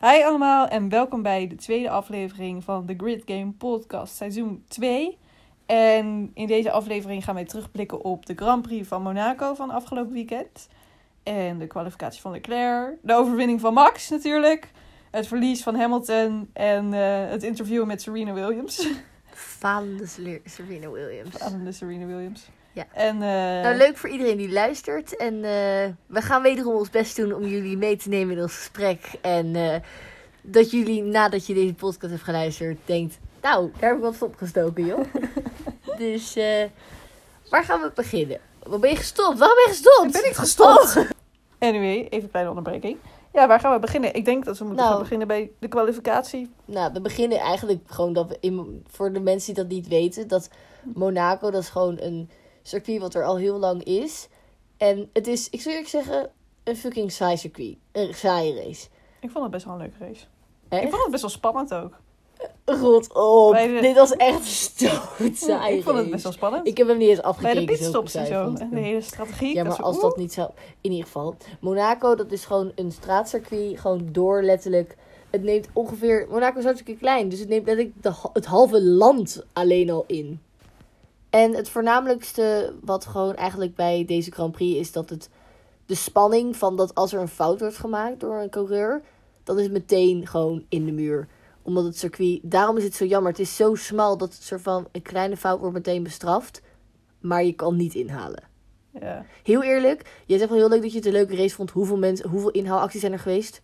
Hi allemaal en welkom bij de tweede aflevering van de Grid Game Podcast seizoen 2. En in deze aflevering gaan wij terugblikken op de Grand Prix van Monaco van afgelopen weekend. En de kwalificatie van Leclerc, de overwinning van Max natuurlijk, het verlies van Hamilton en eh, het interview met Serena Williams. Falende Sele- Serena Williams. Aan de Serena Williams. Ja. En, eh, Nou, leuk voor iedereen die luistert. En eh, we gaan wederom ons best doen om jullie mee te nemen in ons gesprek. En eh, dat jullie, nadat je deze podcast hebt geluisterd, denkt... Nou, daar heb ik wat op gestoken, joh. dus, eh, waar gaan we beginnen? Waarom ben je gestopt? Waarom ben je gestopt? Oh. Ik ben niet gestopt. Anyway, even een kleine onderbreking. Ja, waar gaan we beginnen? Ik denk dat we moeten Nou. gaan beginnen bij de kwalificatie. Nou, we beginnen eigenlijk gewoon dat we in, voor de mensen die dat niet weten, dat Monaco dat is gewoon een circuit wat er al heel lang is. En het is, ik zou eerlijk zeggen, een fucking saai circuit. Een saai race. Ik vond het best wel een leuke race. Ik Echt? vond het best wel spannend ook. Rot op. Bij de- Dit was echt een stootsaai ik vond het best wel spannend. Ik heb hem niet eens Bij afgekeken. de zulke pitstops en saai zo. vond ik En hem. de hele strategie. Ja, maar ze- als dat niet zou... In ieder geval. Monaco, dat is gewoon een straatcircuit. Gewoon door letterlijk... Het neemt ongeveer... Monaco is hartstikke klein. Dus het neemt letterlijk de, ha- het halve land alleen al in. En het voornamelijkste wat gewoon eigenlijk bij deze Grand Prix is dat het... De spanning van dat als er een fout wordt gemaakt door een coureur... Dan is het meteen gewoon in de muur. Omdat het circuit... Daarom is het zo jammer. Het is zo smal dat het soort van... Een kleine fout wordt meteen bestraft. Maar je kan niet inhalen. Oeh, Ja. Heel eerlijk, jij zegt wel heel leuk dat je het een leuke race vond. Hoeveel, mensen, hoeveel inhaalacties zijn er geweest?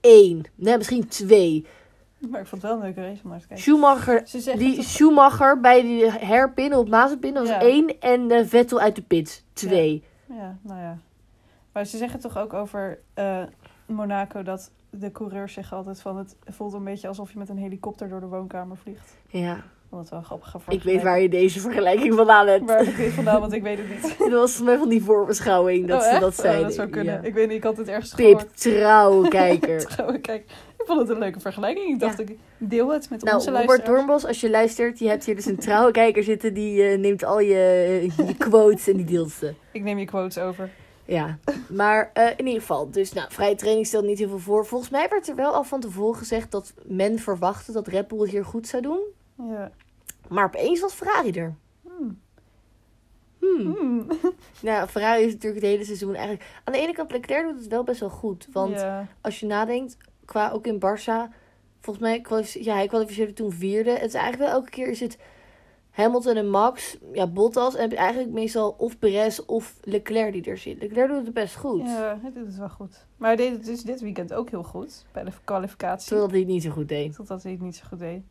Eén. Nee, misschien twee. Maar ik vond het wel een leuke race om naar te kijken. Schumacher, Ze zeggen die toch- Schumacher bij die herpin op Mazepin, dat was Ja. één. En eh, Vettel uit de pit, twee. Ja, nou ja. Maar ze zeggen toch ook over eh, Monaco dat de coureurs zeggen altijd van het voelt een beetje alsof je met een helikopter door de woonkamer vliegt. Ja, Ik vond het wel een grappige ik weet vergelijking. waar je deze vergelijking vandaan hebt. Waar ik weet vandaan, want ik weet het niet. Dat was volgens mij van die voorbeschouwing dat Oh, ze echt? dat Oh, zeiden. dat zou kunnen. Ja. Ik weet niet, ik had het ergens Pip, gehoord. trouwe kijker. Trouwens, kijk, ik vond het een leuke vergelijking. Ik dacht, ik deel het met Nou, onze Robert luisteraars. Dornbos, als je luistert, je hebt hier dus een trouwe kijker zitten. Die eh, neemt al je, eh, je quotes en die deelt ze. Ik neem je quotes over. Ja, maar eh, in ieder geval. Dus nou, vrije training stelt niet heel veel voor. Volgens mij werd er wel al van tevoren gezegd dat men verwachtte dat Red Bull het hier goed zou doen. Ja. Maar opeens was Ferrari er. Hmm. Hmm. Hmm. Nou, Ferrari is natuurlijk het hele seizoen eigenlijk... Aan de ene kant, Leclerc doet het wel best wel goed. Want Ja. als je nadenkt, qua ook in Barça... Volgens mij, kwalifice- ja, hij kwalificeerde toen vierde. Het is eigenlijk wel elke keer is het Hamilton en Max, ja, Bottas... en heb je eigenlijk meestal of Perez of Leclerc die er zit. Leclerc doet het best goed. Ja, hij doet het wel goed. Maar hij deed het dus dit weekend ook heel goed. Bij de kwalificatie. Terwijl hij het niet zo goed deed. Totdat hij het niet zo goed deed.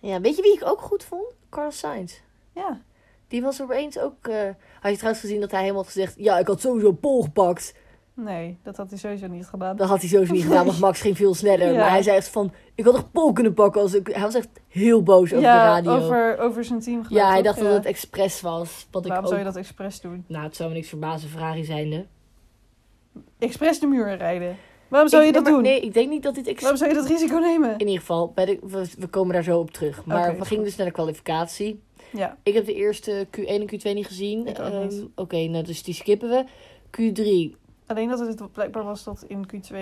Ja, weet je wie ik ook goed vond? Carlos Sainz. Ja. Die was er opeens ook... eh, Had je trouwens gezien dat hij helemaal had gezegd... Ja, ik had sowieso een pol gepakt. Nee, dat had hij sowieso niet gedaan. Dat had hij sowieso niet gedaan, want Max ging veel sneller. Ja. Maar hij zei echt van... Ik had toch pol kunnen pakken als ik... Hij was echt heel boos over dus de ja, radio. over, over zijn team Ja, hij toch? dacht Ja. dat het expres was. Wat ik Waarom ook... zou je dat expres doen? Nou, het zou me niks verbazen, Ferrari zijnde. Expres de muren rijden. Waarom zou Ik- je dat nee, maar- doen? Nee, ik denk niet dat dit... Ex... Waarom zou je dat risico nemen? In ieder geval, bij de... we, we komen daar zo op terug. Maar Oké, we is gingen goed. dus naar de kwalificatie. Ja. Ik heb de eerste Q1 en Q2 niet gezien. Ik ook Ehm, niet. Oké, nou, dus die skippen we. Q3. Alleen dat het blijkbaar was dat in Q2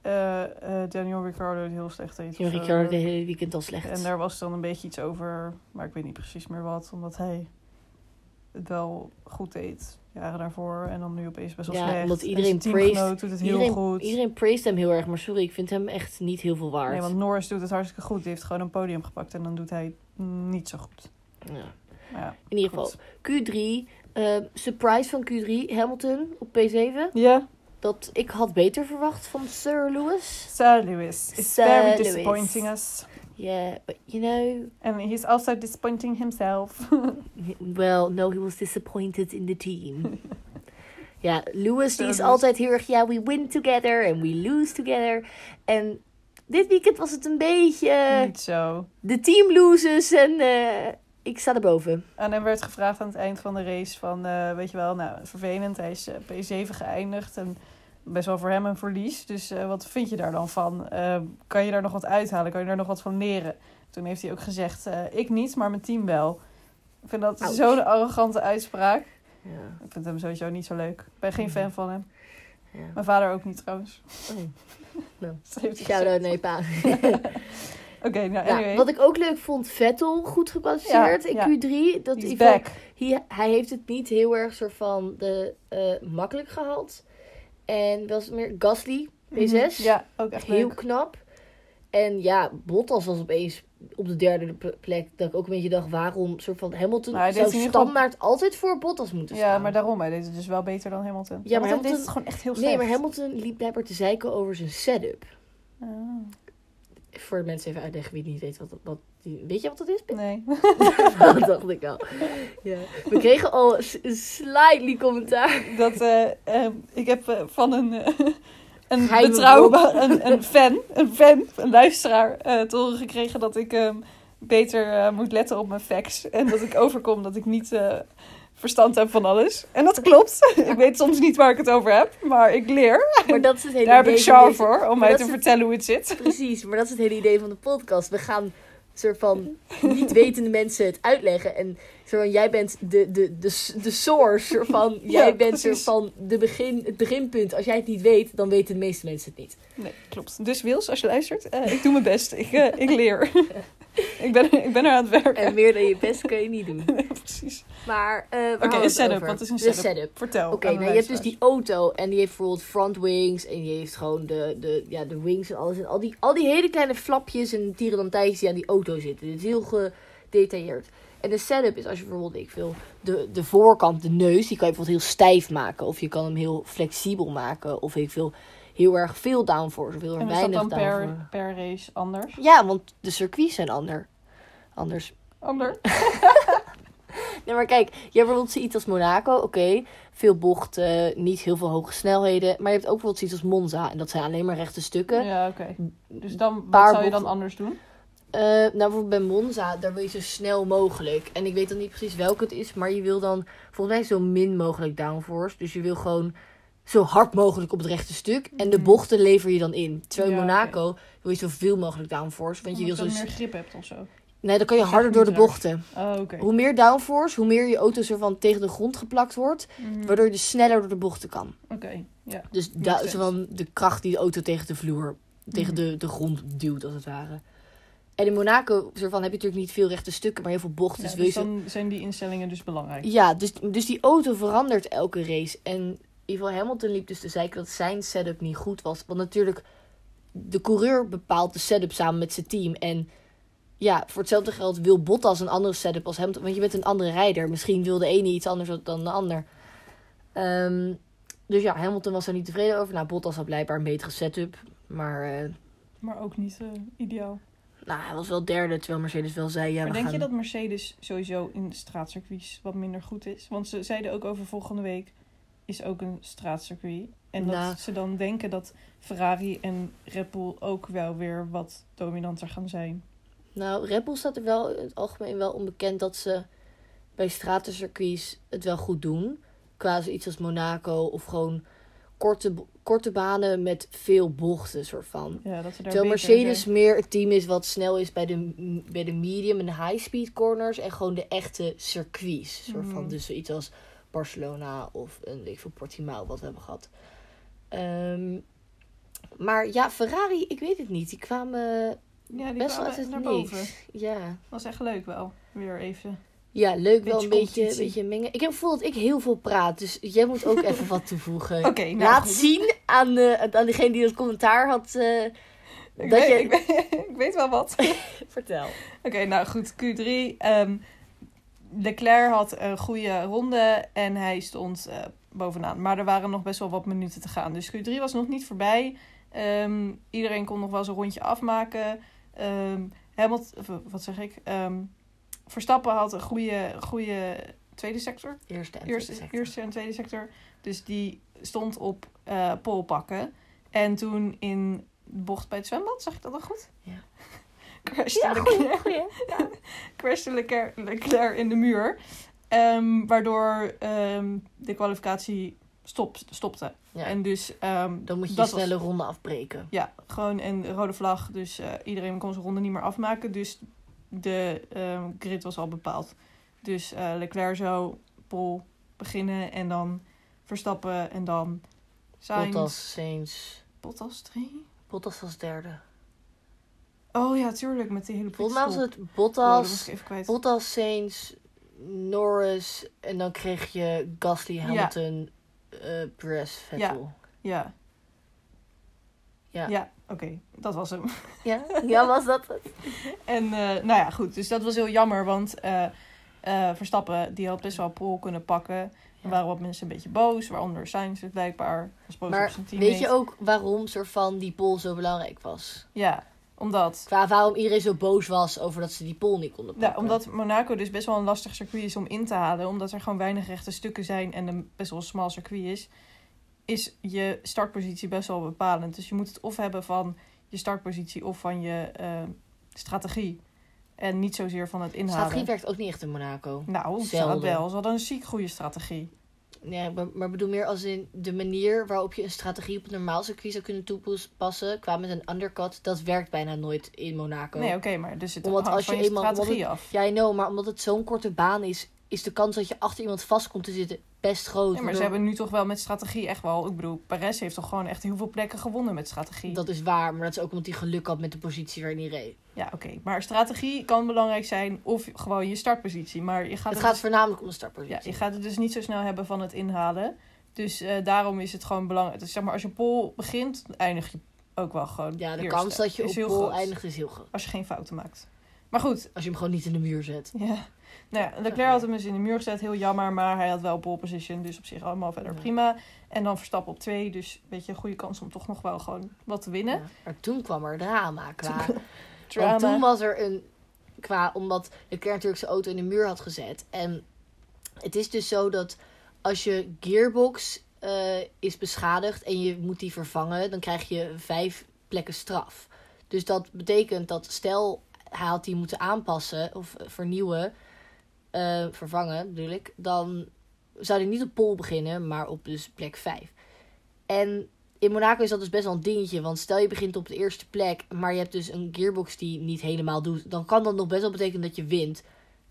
eh, eh, Daniel Ricciardo het heel slecht deed. of Jim zo. Ricciardo de hele weekend al slecht. En daar was dan een beetje iets over, maar ik weet niet precies meer wat, omdat hij het wel goed deed jaren daarvoor en dan nu opeens best wel Ja, slecht. omdat En iedereen zijn teamgenoot praised- doet het heel iedereen, goed. iedereen praised hem heel erg, maar sorry, ik vind hem echt niet heel veel waard. Nee, want Norris doet het hartstikke goed. Die heeft gewoon een podium gepakt en dan doet hij niet zo goed. Ja. Maar ja, In ieder geval, goed. Q3. eh, surprise van Q3, Hamilton op P7. Ja, Dat ik had beter verwacht van Sir Lewis. Sir Lewis is Sir very Lewis. disappointing us. Yeah, but you know, And he's also disappointing himself. well, no, he was disappointed in the team. ja, Lewis Sir die is Lewis. altijd heel erg, ja, we win together and we lose together. En dit weekend was het een beetje, eh, niet zo. de team loses en eh, ik sta erboven. En hem werd gevraagd aan het eind van de race van, eh, weet je wel, nou, vervelend. Hij is eh, P7 geëindigd en best wel voor hem een verlies. Dus eh, wat vind je daar dan van? Eh, kan je daar nog wat uithalen? Kan je daar nog wat van leren? Toen heeft hij ook gezegd, eh, ik niet, maar mijn team wel. Ik vind dat Ouch. zo'n arrogante uitspraak. Ja. Mm. Ik vind hem sowieso niet zo leuk. Ik ben geen fan van hem. Ja. Mijn vader ook niet trouwens. Oh. Nou, Ze heeft het Shout-out gezegd. naar je pa. Oké, nou Ja, anyway. wat ik ook leuk vond, Vettel goed gepasseerd Ja, in Q3. Dat He's in ieder geval- back. hij, hij heeft het niet heel erg soort van de, eh, makkelijk gehad. En wel eens meer Gasly, P6. Mhm. Ja, ook echt Heel leuk. knap. En ja, Bottas was opeens op de derde pl- plek. Dat ik ook een beetje dacht, waarom soort van Hamilton Maar hij deed zou in ieder geval- standaard altijd voor Bottas moeten staan. Ja, maar daarom, hij deed het dus wel beter dan Hamilton. nou. Ja, maar Want hij deed Hamilton- het gewoon echt heel slecht. Nee, maar Hamilton liep blijkbaar te zeiken over zijn setup. Ah, Voor de mensen even uitleggen wie het niet weet wat, wat die- weet je wat dat is? Pim? nee. dat dacht ik al. Ja. We kregen al een s- een slightly commentaar. Dat, eh, ehm, ik heb eh, van een, eh, een Geheime betrouwbaar, een, een fan, een fan, een luisteraar, eh te horen gekregen dat ik ehm, beter eh, moet letten op mijn facts. En dat ik overkom dat ik niet eh, verstand heb van alles. En dat klopt. ik weet soms niet waar ik het over heb, maar ik leer. Maar dat is het hele Daar heb ik idee van Char deze- voor, om maar mij dat te is het- vertellen hoe het zit. Precies, maar dat is het hele idee van de podcast. We gaan soort van niet wetende mensen het uitleggen. En soort van, jij bent de, de, de, s- de source. soort Van, Ja, jij bent soort precies. van de begin, het beginpunt. Als jij het niet weet, dan weten de meeste mensen het niet. Nee, klopt. Dus Wils, als je luistert, eh, ik doe mijn best. Ik, eh, ik leer. ik, ben, ik ben er aan het werken. En meer dan je best kun je niet doen. Precies. Maar eh Oké, een setup. Wat is een De setup? setup. Vertel. Oké, aan de nou je hebt dus luisteraars. die auto en die heeft bijvoorbeeld front wings en die heeft gewoon de, de, ja, de wings en alles. En al die, al die hele kleine flapjes en tierelantijntjes die aan die auto zitten. Dit is heel gedetailleerd. En de setup is als je bijvoorbeeld, ik wil, de, de voorkant, de neus, die kan je bijvoorbeeld heel stijf maken. Of je kan hem heel flexibel maken. Of ik wil heel erg veel downforce of heel erg En is dat weinig dan downforce. per, per race anders? Ja, want de circuits zijn ander, anders. Ander? Nee, maar kijk, je hebt bijvoorbeeld zoiets als Monaco, oké. veel bochten, niet heel veel hoge snelheden. Maar je hebt ook bijvoorbeeld zoiets als Monza. En dat zijn alleen maar rechte stukken. Ja, oké. Dus dan, wat Paar zou je dan bochten. anders doen? Eh, nou, bijvoorbeeld bij Monza, daar wil je zo snel mogelijk. En ik weet dan niet precies welke het is, maar je wil dan volgens mij zo min mogelijk downforce. Dus je wil gewoon zo hard mogelijk op het rechte stuk. En de Mhm. bochten lever je dan in. Terwijl in Ja, Monaco wil je zoveel mogelijk downforce. Want je dus- wil Omdat zo... dan s- meer grip hebt of zo. Nee, dan kan je Zeg harder niet door de raar. bochten. Oh, oké. Hoe meer downforce, hoe meer je auto ervan tegen de grond geplakt wordt. Mhm. Waardoor je dus sneller door de bochten kan. Oké, ja. Dus Makes da- sense. zo van de kracht die de auto tegen de vloer, tegen Mhm. de, de grond duwt, als het ware. En in Monaco zo van, heb je natuurlijk niet veel rechte stukken, maar heel veel bochten. Ja, dus wil je dus zo- dan zijn die instellingen dus belangrijk. ja dus, dus die auto verandert elke race. En in ieder geval Hamilton liep dus te zeiken dat zijn setup niet goed was. Want natuurlijk, de coureur bepaalt de setup samen met zijn team. En ja, voor hetzelfde geld wil Bottas een andere setup als Hamilton. Want je bent een andere rijder. Misschien wil de ene iets anders dan de ander. Ehm, dus ja, Hamilton was er niet tevreden over. Nou, Bottas had blijkbaar een betere setup. Maar eh, Maar ook niet eh, ideaal. nou, hij was wel derde, terwijl Mercedes wel zei... Ja, maar we denk je gaan- dat Mercedes sowieso in straatcircuits wat minder goed is? Want ze zeiden ook over volgende week is ook een straatcircuit. En dat Nou. ze dan denken dat Ferrari en Red Bull ook wel weer wat dominanter gaan zijn. Nou, Red Bull staat er wel in het algemeen wel onbekend dat ze bij stratencircuits het wel goed doen. Qua zoiets als Monaco of gewoon korte, b- korte banen met veel bochten, soort van. Ja, dat ze daar Terwijl beter in Mercedes zijn. meer het team is wat snel is bij de, m- bij de medium en de high speed corners en gewoon de echte circuits. Soort Mhm. van, dus zoiets als Barcelona of een weet ik veel Portimao wat we hebben gehad. Ehm, maar ja, Ferrari, ik weet het niet. Die kwamen, Ja, die best wel kwamen uit het naar niks. boven. ja, was echt leuk wel. Weer even. Ja, leuk wel Beetje een beetje, competitie. beetje mengen. Ik heb gevoel dat ik heel veel praat, dus jij moet ook even wat toevoegen. Oké, nou Laat goed. zien aan, de, aan degene die dat commentaar had. eh, Ik, Dat weet, je- ik, weet, ik weet wel wat. Oké, Vertel. nou goed, Q3. ehm Leclerc had een goede ronde en hij stond eh, bovenaan. Maar er waren nog best wel wat minuten te gaan. Dus Q3 was nog niet voorbij. Ehm, iedereen kon nog wel eens een rondje afmaken. Ehm Hamilton, of, eh, wat zeg ik? Ehm, Verstappen had een goede, goede tweede sector. Eerste en eerste, tweede sector. eerste en tweede sector. Dus die stond op eh polpakken. En toen in de bocht bij het zwembad, zag ik dat al goed? Ja. crashte, Ja, goeie, Leclerc, goeie. crashte Leclerc, Leclerc in de muur. Ehm, waardoor ehm, de kwalificatie stop, stopte. Ja. En dus ehm, Dan moet je dat je was- snelle ronde afbreken. ja, gewoon een rode vlag. Dus eh, iedereen kon zijn ronde niet meer afmaken. Dus de ehm, grid was al bepaald. Dus eh, Leclerc zou Pol beginnen en dan Verstappen en dan Sainz. Bottas, Sainz. Bottas 3? Bottas was derde. Oh ja, tuurlijk, met die hele Volgens mij was pitstop. het Oh, dat was Bottas, ik even kwijt. Bottas, Sainz, Norris en dan kreeg je Gasly, Hamilton, eh Perez, Vettel. Ja. Ja. Ja, oké, dat was hem. Ja. ja, was dat het? En eh, nou ja, goed. Dus dat was heel jammer, want eh, eh, Verstappen die had best wel pol kunnen pakken. Ja. Er waren wat mensen een beetje boos, waaronder Sainz dus blijkbaar. Was boos op Maar zijn teammate. weet je ook waarom soort van die pol zo belangrijk was? Ja, omdat, Qua waarom iedereen zo boos was over dat ze die pol niet konden pakken. nou, omdat Monaco dus best wel een lastig circuit is om in te halen. Omdat er gewoon weinig rechte stukken zijn en een best wel smal circuit is. Is je startpositie best wel bepalend. Dus je moet het of hebben van je startpositie of van je eh, strategie. En niet zozeer van het inhalen. Strategie werkt ook niet echt in Monaco. Nou, ze Zelden. hadden wel. Ze hadden een ziek goede strategie. Nee, maar, maar bedoel meer als in de manier waarop je een strategie op een normaal circuit zou kunnen toepassen. Qua met een undercut, dat werkt bijna nooit in Monaco. Nee, oké, maar dus het Omdat hangt als van je je, eenmaal- strategie af. Ja, I know, maar omdat het zo'n korte baan is, is de kans dat je achter iemand vast komt te zitten best groot. Nee, maar ze Waardoor- hebben nu toch wel met strategie echt wel... Ik bedoel, Perez heeft toch gewoon echt heel veel plekken gewonnen met strategie. Dat is waar, maar dat is ook omdat hij geluk had met de positie waarin hij reed. Ja, oké. Maar strategie kan belangrijk zijn of gewoon je startpositie. Maar je gaat het het, gaat voornamelijk om de dus, ja, startpositie. je gaat het dus niet zo snel hebben van het inhalen. Dus eh, daarom is het gewoon belangrijk. Dus zeg maar, als je pol begint, eindig je ook wel gewoon Ja, de eerste. kans dat je Is op heel pol groot. eindigt is heel groot. Als je geen fouten maakt. Maar goed, Als je hem gewoon niet in de muur zet. Ja. Nou ja, Leclerc had hem dus in de muur gezet. Heel jammer, maar hij had wel pole position. Dus op zich allemaal verder Ja. prima. En dan Verstappen op twee. Dus weet je, een goede kans om toch nog wel gewoon wat te winnen. Ja. Maar toen kwam er drama qua. Drama. Want toen was er een... Qua, omdat Leclerc natuurlijk zijn auto in de muur had gezet. En het is dus zo dat als je gearbox eh, is beschadigd en je moet die vervangen... dan krijg je vijf plekken straf. Dus dat betekent dat stel hij had die moeten aanpassen of eh, vernieuwen... eh, vervangen bedoel ik, dan zou hij niet op pol beginnen, maar op dus plek 5. En in Monaco is dat dus best wel een dingetje. Want stel je begint op de eerste plek, maar je hebt dus een gearbox die niet helemaal doet. Dan kan dat nog best wel betekenen dat je wint.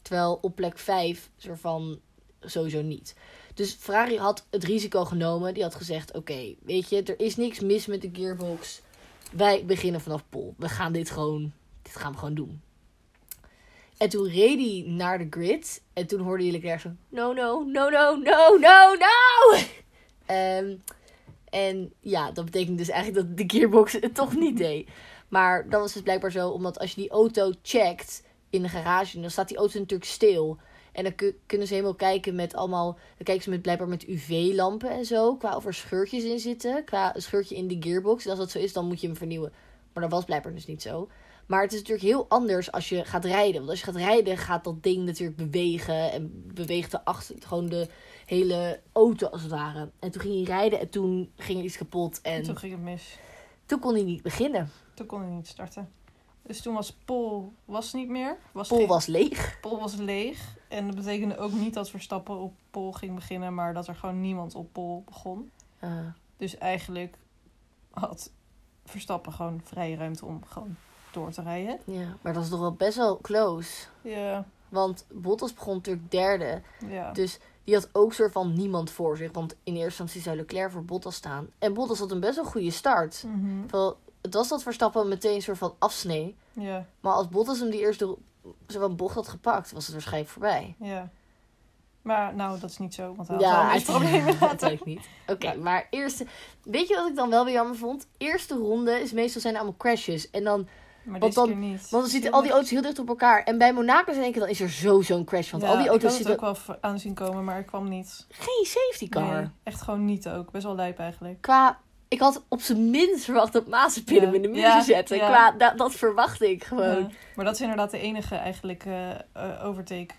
Terwijl op plek 5 soort van sowieso niet. Dus Ferrari had het risico genomen. Die had gezegd, oké, weet je, er is niks mis met de gearbox. Wij beginnen vanaf pol. We gaan dit gewoon, dit gaan we gewoon doen. En toen reed hij naar de grid. En toen hoorde je Leclerc zo... No, no, no, no, no, no, no! Ehm, en ja, dat betekent dus eigenlijk dat de gearbox het toch niet deed. Maar dat was dus blijkbaar zo, omdat als je die auto checkt in de garage, dan staat die auto natuurlijk stil. En dan ku- kunnen ze helemaal kijken met allemaal... Dan kijken ze met, blijkbaar met UV-lampen en zo. Qua of er scheurtjes in zitten. Qua een scheurtje in de gearbox. En als dat zo is, dan moet je hem vernieuwen. Maar dat was blijkbaar dus niet zo. Maar het is natuurlijk heel anders als je gaat rijden. Want als je gaat rijden, gaat dat ding natuurlijk bewegen. En beweegt de achter, gewoon de hele auto als het ware. En toen ging hij rijden en toen ging er iets kapot. En Toen ging het mis. toen kon hij niet beginnen. Toen kon hij niet starten. Dus toen was Pol was niet meer. Was Pol geen- was leeg. Pol was leeg. En dat betekende ook niet dat Verstappen op Pol ging beginnen. Maar dat er gewoon niemand op Pol begon. Eh, Dus eigenlijk had Verstappen gewoon vrije ruimte om gewoon door te rijden. ja. Maar dat is toch wel best wel close. Ja, Want Bottas begon natuurlijk derde. ja. Dus die had ook soort van niemand voor zich. Want in eerste instantie zou Leclerc voor Bottas staan. En Bottas had een best wel goede start. Mhm. Terwijl Het was dat Verstappen meteen een soort van afsnee. Ja, Maar als Bottas hem die eerste soort van bocht had gepakt, was het waarschijnlijk voorbij. ja. Maar nou, dat is niet zo, want hij had Ja, wel een probleem later. ik niet. Oké, maar eerste... Weet je wat ik dan wel weer jammer vond? Eerste ronde is meestal zijn er allemaal crashes. En dan... Maar Want deze dan- keer niet. Want dan zitten al die auto's heel dicht op elkaar. En bij Monaco in één keer, dan is er sowieso een crash. Want Ja, al die auto's Ik had het zitten... ook wel v- aan zien komen, maar ik kwam niet. Geen safety car. Nee, echt gewoon niet ook. Best wel lijp eigenlijk. Qua... Ik had op zijn minst verwacht dat Mazepin Ja. hem in de muur Ja, zou zetten. ja. Qua, da- dat verwachtte ik gewoon. Ja. Maar dat is inderdaad de enige eigenlijk eh, eh, overtake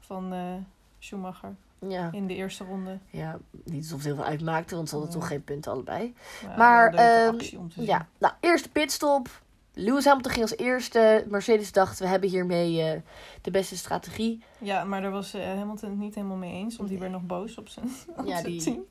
van eh, Schumacher Ja. in de eerste ronde. ja, niet alsof het heel veel uitmaakte, want ze hadden Nee. toch geen punten allebei. Maar, Maar, wel een leuke ehm, actie om te zien. Ja, nou, eerste pitstop. Lewis Hamilton ging als eerste. Mercedes dacht, we hebben hiermee eh, de beste strategie. Ja, maar daar was eh, Hamilton het niet helemaal mee eens, want die werd nog boos op zijn, op Ja, zijn die- team.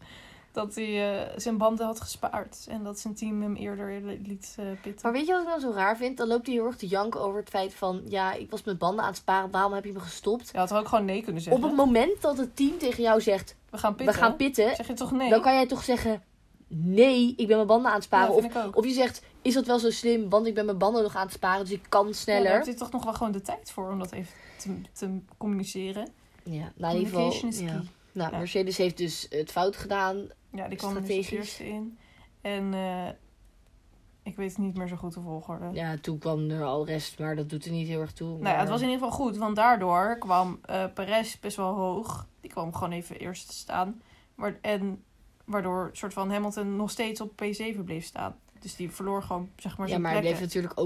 Dat hij eh, zijn banden had gespaard en dat zijn team hem eerder li- liet eh, pitten. Maar weet je wat ik nou zo raar vind? Dan loopt hij heel erg te janken over het feit van... Ja, ik was mijn banden aan het sparen. Waarom heb je me gestopt? Je had er ook gewoon nee kunnen Op zeggen. het moment dat het team tegen jou zegt... We gaan pitten. We gaan pitten. Zeg je toch nee? Dan kan jij toch zeggen... nee, ik ben mijn banden aan het Ja, sparen. of, vind ik ook. of je zegt, is dat wel zo slim? Want ik ben mijn banden nog aan het sparen, dus ik kan Ja, daar sneller. heb je toch nog wel gewoon de tijd voor om dat even te, te communiceren. Ja, nou in ieder geval. Communication is ja. key. Nou, Ja. Mercedes heeft dus het fout gedaan. Ja, die kwam er dus als Strategisch. eerste in. En eh, ik weet niet meer zo goed de volgorde. Ja, toen kwam er al rest, maar dat doet er niet heel erg toe. Nou ja, het maar- was in ieder geval goed, want daardoor kwam eh Perez best wel hoog. Die kwam gewoon even eerst te staan. Maar, en waardoor soort van Hamilton nog steeds op P7 bleef staan. Dus die verloor gewoon, zeg maar, ja, zijn maar hij bleef plekken. natuurlijk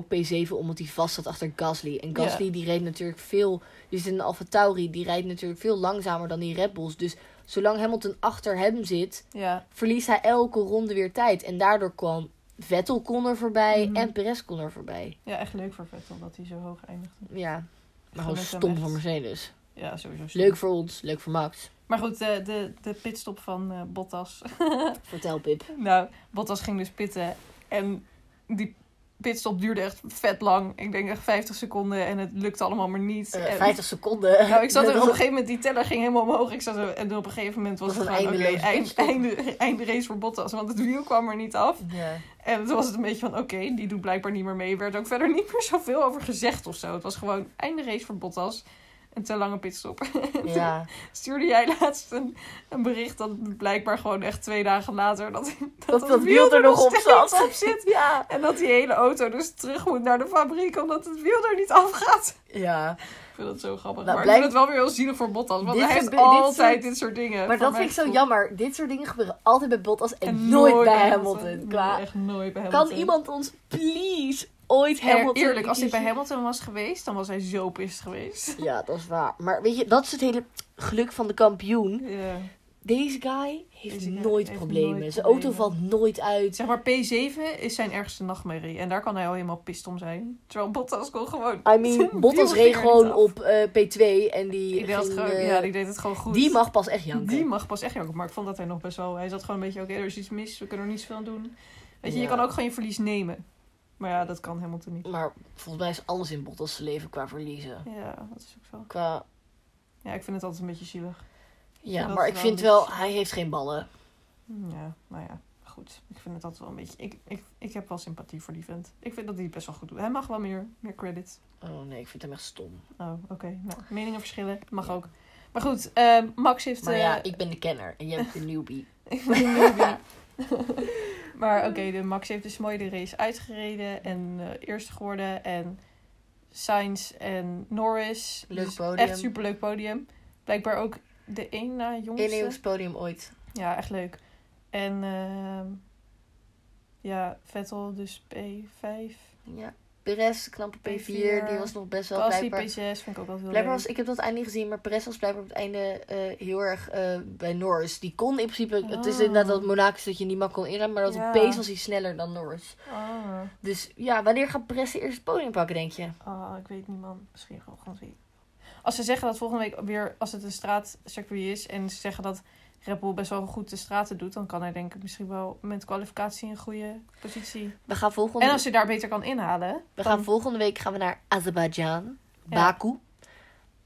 ook P7 omdat hij vast zat achter Gasly. En Gasly Ja. die reed natuurlijk veel. Die zit in een Alfa Tauri, die rijdt natuurlijk veel langzamer dan die Red Bulls. Dus zolang Hamilton achter hem zit, Ja, verliest hij elke ronde weer tijd. En daardoor kwam Vettel kon er voorbij Mhm. en Perez kon er voorbij. ja, echt leuk voor Vettel dat hij zo hoog eindigde. Ja, maar gewoon Gelukkig stom echt. voor Mercedes. Ja, sowieso. stom. Leuk voor ons, leuk voor Max. Maar goed, de, de, de pitstop van eh, Bottas. Vertel Pip. nou, Bottas ging dus pitten. En die pitstop duurde echt vet lang. Ik denk echt 50 seconden en het lukte allemaal maar niet. Eh, En- 50 seconden. Nou, ik zat er op een Dat was- gegeven moment, die teller ging helemaal omhoog. Ik zat er, en op een gegeven moment was Dat het was een gewoon, oké, eindeloze eind, pitstop. einde, eindrace voor Bottas. Want het wiel kwam er niet af. Ja. En toen was het een beetje van, oké, die doet blijkbaar niet meer mee. Er werd ook verder niet meer zoveel over gezegd of zo. Het was gewoon eindrace voor Bottas. Een te lange pitstop. ja. Stuurde jij laatst een, een bericht dat blijkbaar gewoon echt twee dagen later... Dat dat, Dat het dat wiel er nog op steeds zat. op zit. Ja. En dat die hele auto dus terug moet naar de fabriek omdat het wiel er niet afgaat. Ja. Ik vind dat zo grappig. Nou, maar ik vind blijkt- het wel weer heel zielig voor Bottas. Want Dit hij heeft gebe- dit altijd soort- dit soort dingen. Maar voor dat mijn vind ik zo gevoel. jammer. Dit soort dingen gebeuren altijd bij Bottas en, nooit, bij Hamilton. Nee, Qua, echt nooit bij kan Hamilton. iemand ons please ooit Heel Hamilton... eerlijk, als hij bij hem Hamilton was geweest, dan was hij zo pist geweest. Ja, dat is waar. Maar weet je, dat is het hele geluk van de kampioen. Ja. Deze guy heeft Deze guy nooit heeft problemen. nooit Zijn auto problemen. valt nooit uit. Zeg maar, P7 is zijn ergste nachtmerrie. En daar kan hij al helemaal pist om zijn. Terwijl Bottas kon gewoon... I zijn mean, Bottas wiel ging reed er gewoon niet af. op eh, P2 en die Die deed, het ging, gewoon, eh, ja, die deed het gewoon goed. die mag pas echt janken. Die mag pas echt janken. Maar ik vond dat hij nog best wel... Hij zat gewoon een beetje... Oké, er is iets mis. We kunnen er niets veel aan doen. Weet je, Ja. je kan ook gewoon je verlies nemen. Maar ja, dat kan Hamilton niet. Maar volgens mij is alles in Bottas leven qua verliezen. Ja, dat is ook zo. Qua... Ja, ik vind het altijd een beetje zielig. Ja, Dat maar is ik wel vind een wel, beetje- hij heeft geen ballen. Ja, nou ja, goed. Ik vind het altijd wel een beetje... Ik, ik, ik heb wel sympathie voor die vent. Ik vind dat hij het best wel goed doet. Hij mag wel meer, meer credit. Oh nee, ik vind hem echt stom. Oh, oké. Nou, meningen verschillen. Mag Ja. ook. Maar goed, eh, Max heeft... Maar eh, ja, ik ben de kenner en jij bent de newbie. ik ben een newbie. maar oké, de Max heeft dus mooi de race uitgereden. En eh, eerste geworden. En Sainz en Norris. Leuk Dus podium. Echt superleuk podium. Blijkbaar ook de één na jongste. Eeuws podium ooit. Ja, echt leuk. En ehm, ja, Vettel dus P5. Ja. Perez, knappe P4, P4. die was nog best wel Gasly blijkbaar. P6 vind ik ook wel heel Blijkbaar leuk. was, ik heb dat einde niet gezien, maar Perez was blijkbaar op het einde eh, heel erg eh, bij Norris. Die kon in principe, het is Ah. inderdaad dat Monaco dat je niet makkelijk kon ingaan, maar dat Ja. pace was hij sneller dan Norris. Ah, Dus ja, wanneer gaat Perez de eerste podium pakken, denk je? ah, ik weet niet man. Misschien gewoon gewoon twee. Als ze zeggen dat volgende week weer, als het een straatcircuit is... en ze zeggen dat Red Bull best wel goed de straten doet... dan kan hij denk ik misschien wel met kwalificatie een goede positie. We gaan volgende, En als hij daar beter kan inhalen... we gaan volgende week gaan we naar Azerbeidzjan, Ja. Baku.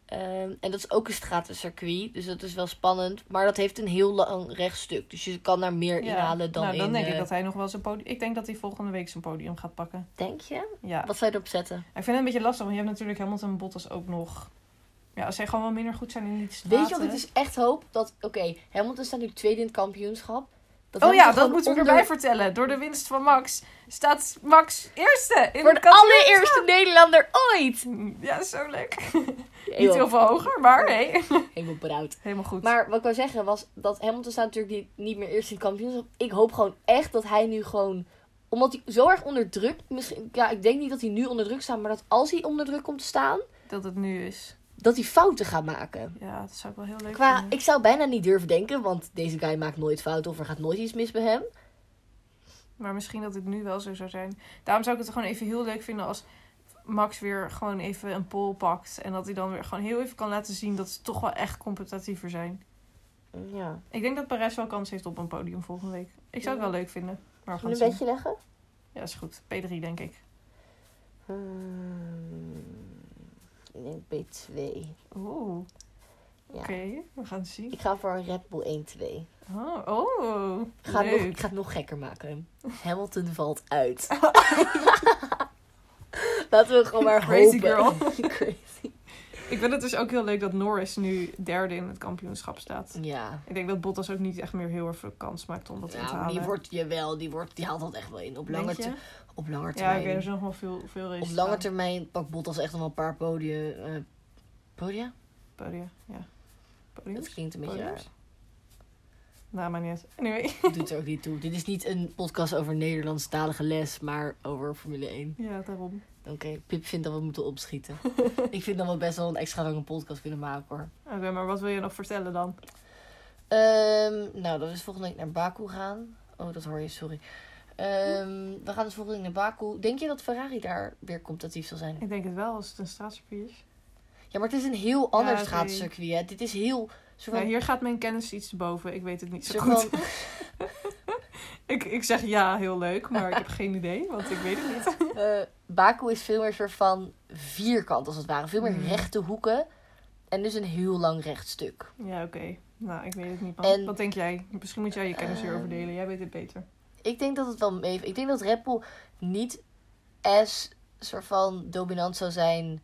Ehm, en dat is ook een stratencircuit, dus dat is wel spannend. Maar dat heeft een heel lang rechtstuk, dus je kan daar meer ja, inhalen dan nou, dan in... denk eh, ik dat hij nog wel zijn podium... Ik denk dat hij volgende week zijn podium gaat pakken. Denk je? Ja. Wat zou je erop zetten? Ik vind het een beetje lastig, want je hebt natuurlijk Hamilton en Bottas ook nog. Ja, als zij gewoon wel minder goed zijn in die straten. Weet je wat ik dus echt hoop? Dat, oké, Hamilton staat nu tweede in het kampioenschap. Dat Oh ja, Hamilton dat gewoon moeten we onder- erbij vertellen. Door de winst van Max staat Max eerste in Voor het de kampioenschap. allereerste Nederlander ooit! Ja, zo leuk. Niet heel Helemaal, veel hoger, maar nee. helemaal berouwd. Helemaal goed. Maar wat ik wou zeggen was dat Hamilton staat natuurlijk niet, niet meer eerst in het kampioenschap. Ik hoop gewoon echt dat hij nu gewoon... Omdat hij zo erg onder druk... Misschien, ja, ik denk niet dat hij nu onder druk staat. Maar dat als hij onder druk komt te staan... Dat het nu is. Dat hij fouten gaat maken. Ja, dat zou ik wel heel leuk Qua, vinden. ik zou bijna niet durven denken. Want deze guy maakt nooit fouten. Of er gaat nooit iets mis bij hem. Maar misschien dat het nu wel zo zou zijn. Daarom zou ik het gewoon even heel leuk vinden als Max weer gewoon even een pol pakt. En dat hij dan weer gewoon heel even kan laten zien dat ze toch wel echt competitiever zijn. Ja. Ik denk dat Parijs wel kans heeft op een podium volgende week. Ik zou het wel leuk vinden. Maar we gaan Wil je het een zien. bedje leggen? Ja, is goed. P3 denk ik. Ehm, Hmm, ik denk B2. Oeh. Ja. Oké, we gaan het zien. Ik ga voor een Red Bull 1-2. Oh, oh Ik, ga het nog- ik leuk. ga het nog gekker maken. Hamilton valt uit. Laten we gewoon maar Crazy hopen. Crazy. Ik vind het dus ook heel leuk dat Norris nu derde in het kampioenschap staat. Ja. Ik denk dat Bottas ook niet echt meer heel erg veel kans maakt om dat in te Ja, maar halen. die wordt, jawel, die, wordt, die haalt dat echt wel in. Op lange, Denk je? ter- op lange Ja, termijn. ik weet er zijn nog wel veel, veel races. op lange te termijn pakt Bottas echt nog wel een paar podium. eh, podia? gaan. Podia, ja. Dat Podiums? klinkt een beetje raar. Podiums? Nou, maar niet. uit. Anyway. Doet er ook niet toe. Dit is niet een podcast over Nederlandstalige les, maar over Formule 1. Ja, daarom. Oké, Pip vindt dat we moeten opschieten. ik vind dat we best wel een extra lange podcast kunnen maken hoor. Oké, maar wat wil je nog vertellen dan? Ehm, nou, dat is volgende week naar Baku gaan. Oh, dat hoor je, sorry. Ehm, Hm? we gaan dus volgende week naar Baku. Denk je dat Ferrari daar weer competitief zal zijn? Ik denk het wel, als het een straatcircuit is. Ja, maar het is een heel ander oké. straatcircuit. Hè? Dit is heel. Soort Nou, van, hier gaat mijn kennis iets te boven. Ik weet het niet zo soort goed. van- Ik, ik zeg ja, heel leuk, maar ik heb geen idee, want ik weet het niet. Eh, Baku is veel meer soort van vierkant, als het ware. Veel meer Mhm. rechte hoeken. En dus een heel lang recht stuk. Ja, oké. Nou, ik weet het niet. man. En- Wat denk jij? Misschien moet jij je kennis hierover Ehm. delen. Jij weet het beter. Ik denk dat het wel mee... Ik denk dat Red Bull niet as soort van dominant zou zijn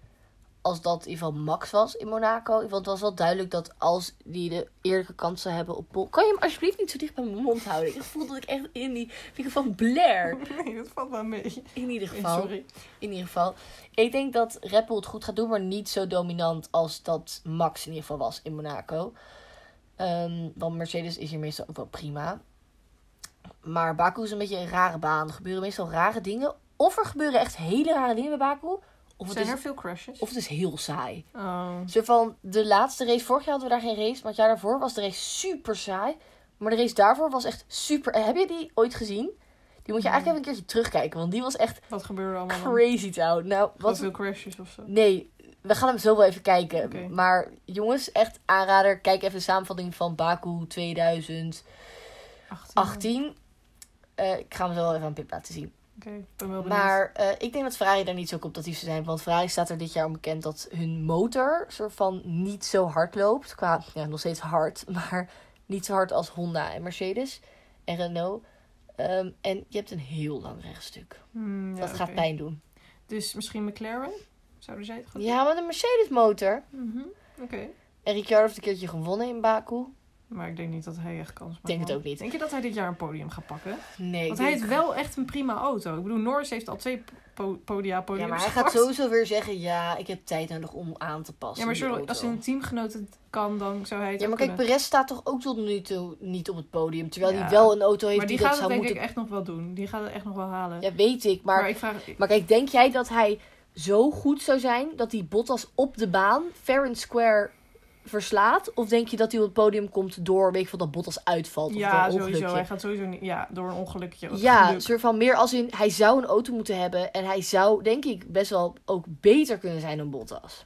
als dat in ieder geval Max was in Monaco. Want het was wel duidelijk dat als die de eerlijke kans zou hebben op pol... Kan je hem alsjeblieft niet zo dicht bij mijn mond houden? Ik voel dat ik echt in die microfoon blair. Nee, dat valt wel mee. In ieder geval. Sorry. In ieder geval. Ik denk dat Red Bull het goed gaat doen, maar niet zo dominant als dat Max in ieder geval was in Monaco. Ehm, want Mercedes is hier meestal ook wel prima. Maar Baku is een beetje een rare baan. Er gebeuren meestal rare dingen. Of er gebeuren echt hele rare dingen bij Baku. Of het, Zijn is, er veel crashes? of het is heel saai. Oh. Zo van de laatste race, vorig jaar hadden we daar geen race. Maar het jaar daarvoor was de race super saai. Maar de race daarvoor was echt super. Eh, Heb je die ooit gezien? Die moet je eigenlijk even een keertje terugkijken. Want die was echt Wat gebeurde er allemaal? dan? crazy town. Nou, Wat wat veel crashes of zo? Nee, we gaan hem zo wel even kijken. Oké. Maar jongens, echt aanrader. Kijk even de samenvatting van Baku 2018. 18. Eh, ik ga hem zo wel even aan Pip laten zien. Oké, ik ben wel Oh, benieuwd. Maar eh, ik denk dat Ferrari daar niet zo competitief zou zijn. Want Ferrari staat er dit jaar om bekend dat hun motor soort van niet zo hard loopt. Qua, ja, nog steeds hard. Maar niet zo hard als Honda en Mercedes en Renault. Ehm, en je hebt een heel lang rechtstuk. Hmm, ja, dat gaat oké. pijn doen. Dus misschien McLaren? Zouden zij het goed Ja, maar een Mercedes motor. doen? Mhm, Oké. En Ricciardo heeft een keertje gewonnen in Baku. Maar ik denk niet dat hij echt kans maakt. Denk het man. ook niet. Denk je dat hij dit jaar een podium gaat pakken? Nee. Want ik hij denk- heeft wel echt een prima auto. Ik bedoel, Norris heeft al twee po- podia podiums Ja, maar hij gaat gepakt. sowieso weer zeggen: ja, ik heb tijd nodig om aan te passen. Ja, maar die sorry, auto." als een teamgenoot het kan, dan zou hij het Ja, maar ook kijk, kunnen. Perez staat toch ook tot nu toe niet op het podium. Terwijl Ja. hij wel een auto heeft Maar die, die, gaat dat het denk zou moeten. ik echt nog wel doen. Die gaat het echt nog wel halen. Ja, weet ik. Maar, maar, maar, ik vraag... kijk, denk jij dat hij zo goed zou zijn dat hij Bottas op de baan, fair and square, verslaat? Of denk je dat hij op het podium komt door, weet ik veel, dat Bottas uitvalt? Of door ja, een sowieso. ongelukje? Hij gaat sowieso niet... Ja, door een ongelukje. of Ja, geluk. soort van meer als in hij zou een auto moeten hebben en hij zou, denk ik, best wel ook beter kunnen zijn dan Bottas.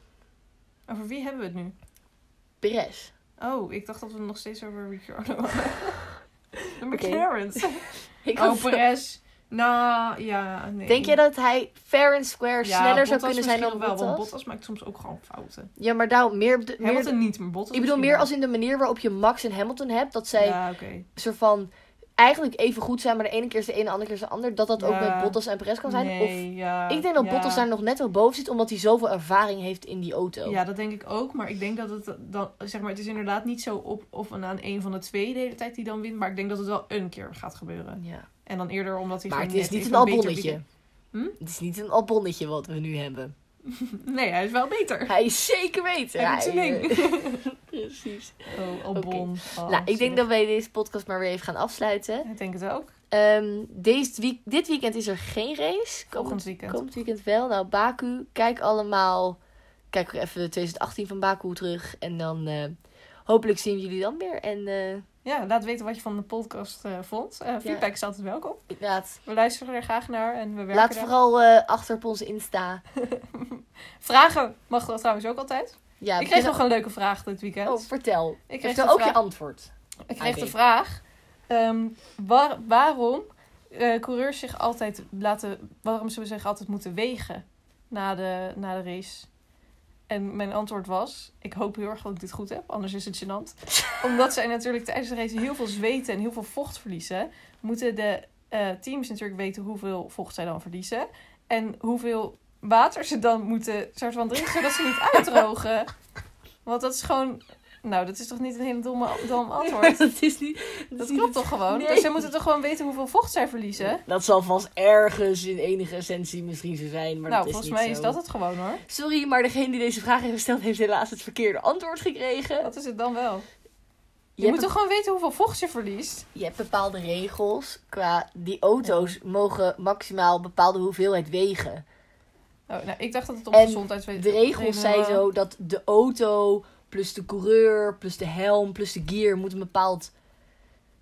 Over wie hebben we het nu? Perez. Oh, ik dacht dat we het nog steeds over Ricciardo hadden. De McLaren's. Ik had- Oh, Perez. Nou, ja, nee. Denk jij dat hij fair and square Ja, sneller Bottas zou kunnen zijn dan misschien wel, Bottas? want Bottas maakt soms ook gewoon fouten. Ja, maar daarom meer... op de- meer Hamilton niet, maar Bottas ik bedoel misschien meer wel. als in de manier waarop je Max en Hamilton hebt. Dat zij Ja, oké. soort van eigenlijk even goed zijn, maar de ene keer is de ene, de andere keer is de ander. Dat dat ook Ja. met Bottas en Perez kan zijn. Nee, ja, of, ik denk dat ja. Bottas daar nog net wel boven zit, omdat hij zoveel ervaring heeft in die auto. Ja, dat denk ik ook. Maar ik denk dat het dan... Zeg maar, het is inderdaad niet zo op of aan aan een van de twee de hele tijd die dan wint. Maar ik denk dat het wel een keer gaat gebeuren. Ja. En dan eerder omdat hij Maar het gewoon is net niet een even beter albonnetje. Hm? Het is niet een albonnetje wat we nu hebben. begint. Nee, hij is wel beter. Hij is zeker weten. Hij doet zijn Precies. Oh, albon. Oh, eh. nou, ik denk zielig. dat wij deze podcast maar weer even gaan afsluiten. Ik denk het ook. Ehm, deze week, dit weekend is er geen race. Volgend Komend, weekend. komend weekend wel. Nou, Baku, kijk allemaal. Kijk ook even 2018 van Baku terug. En dan eh, hopelijk zien we jullie dan weer. En eh, Ja, laat weten wat je van de podcast eh, vond. Eh, feedback is altijd welkom. inderdaad, We luisteren er graag naar en we werken laat daar- vooral eh, achter op onze Insta. Vragen mag dat trouwens ook altijd. Ja, ik kreeg nog een leuke vraag dit weekend. Oh, vertel. ik kreeg Vertel de ook vraag- je antwoord. Ik kreeg Oké. de vraag ehm, waar- waarom eh, coureurs zich altijd laten, waarom ze zich altijd moeten wegen na de, na de race. En En mijn antwoord was, ik hoop heel erg dat ik dit goed heb, anders is het gênant. Omdat zij natuurlijk tijdens de race heel veel zweten en heel veel vocht verliezen, moeten de eh, teams natuurlijk weten hoeveel vocht zij dan verliezen. En hoeveel water ze dan moeten soort van drinken, zodat ze niet uitdrogen. Want dat is gewoon, nou dat is toch niet een hele domme, dom antwoord. dat is niet. Dat, Dat is niet klopt toch gewoon? Nee. Dus zij moeten toch gewoon weten hoeveel vocht zij verliezen? Dat zal vast ergens in enige essentie misschien zo zijn. Maar nou, dat is volgens niet mij zo. is dat het gewoon hoor. Sorry, maar degene die deze vraag heeft gesteld heeft helaas het verkeerde antwoord gekregen. Dat is het dan wel. Je, Je moet hebt toch gewoon weten hoeveel vocht je verliest? Je hebt bepaalde regels qua die auto's mogen maximaal bepaalde hoeveelheid wegen. Oh, nou, ik dacht dat het om En gezondheidswet- De regels zijn redenen- zo dat de auto plus de coureur plus de helm plus de gear moet een bepaald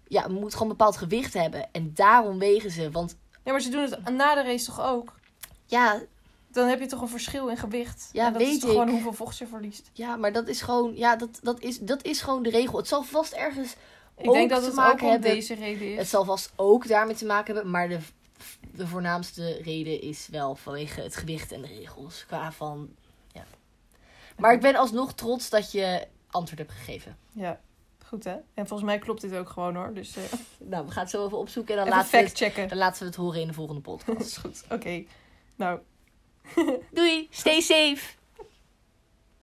ja, moet gewoon een bepaald gewicht hebben en daarom wegen ze, want Ja, maar ze doen het na de race toch ook? ja, Dan heb je toch een verschil in gewicht? Ja, En dat is weet toch gewoon ik. hoeveel vocht je verliest? ja, maar dat is gewoon ja, dat, dat is dat is gewoon de regel. Het zal vast ergens Ik Ook denk dat te het maken ook om hebben- deze reden het is. zal vast ook daarmee te maken hebben, maar de de voornaamste reden is wel vanwege het gewicht en de regels qua van Maar ik ben alsnog trots dat je antwoord hebt gegeven. Ja, goed hè? En volgens mij klopt dit ook gewoon hoor. Dus eh Nou, we gaan het zo even opzoeken en dan, even laten we, het, fact checken. dan laten we het horen in de volgende Dat podcast. is goed. Oké. Nou, Doei, stay safe!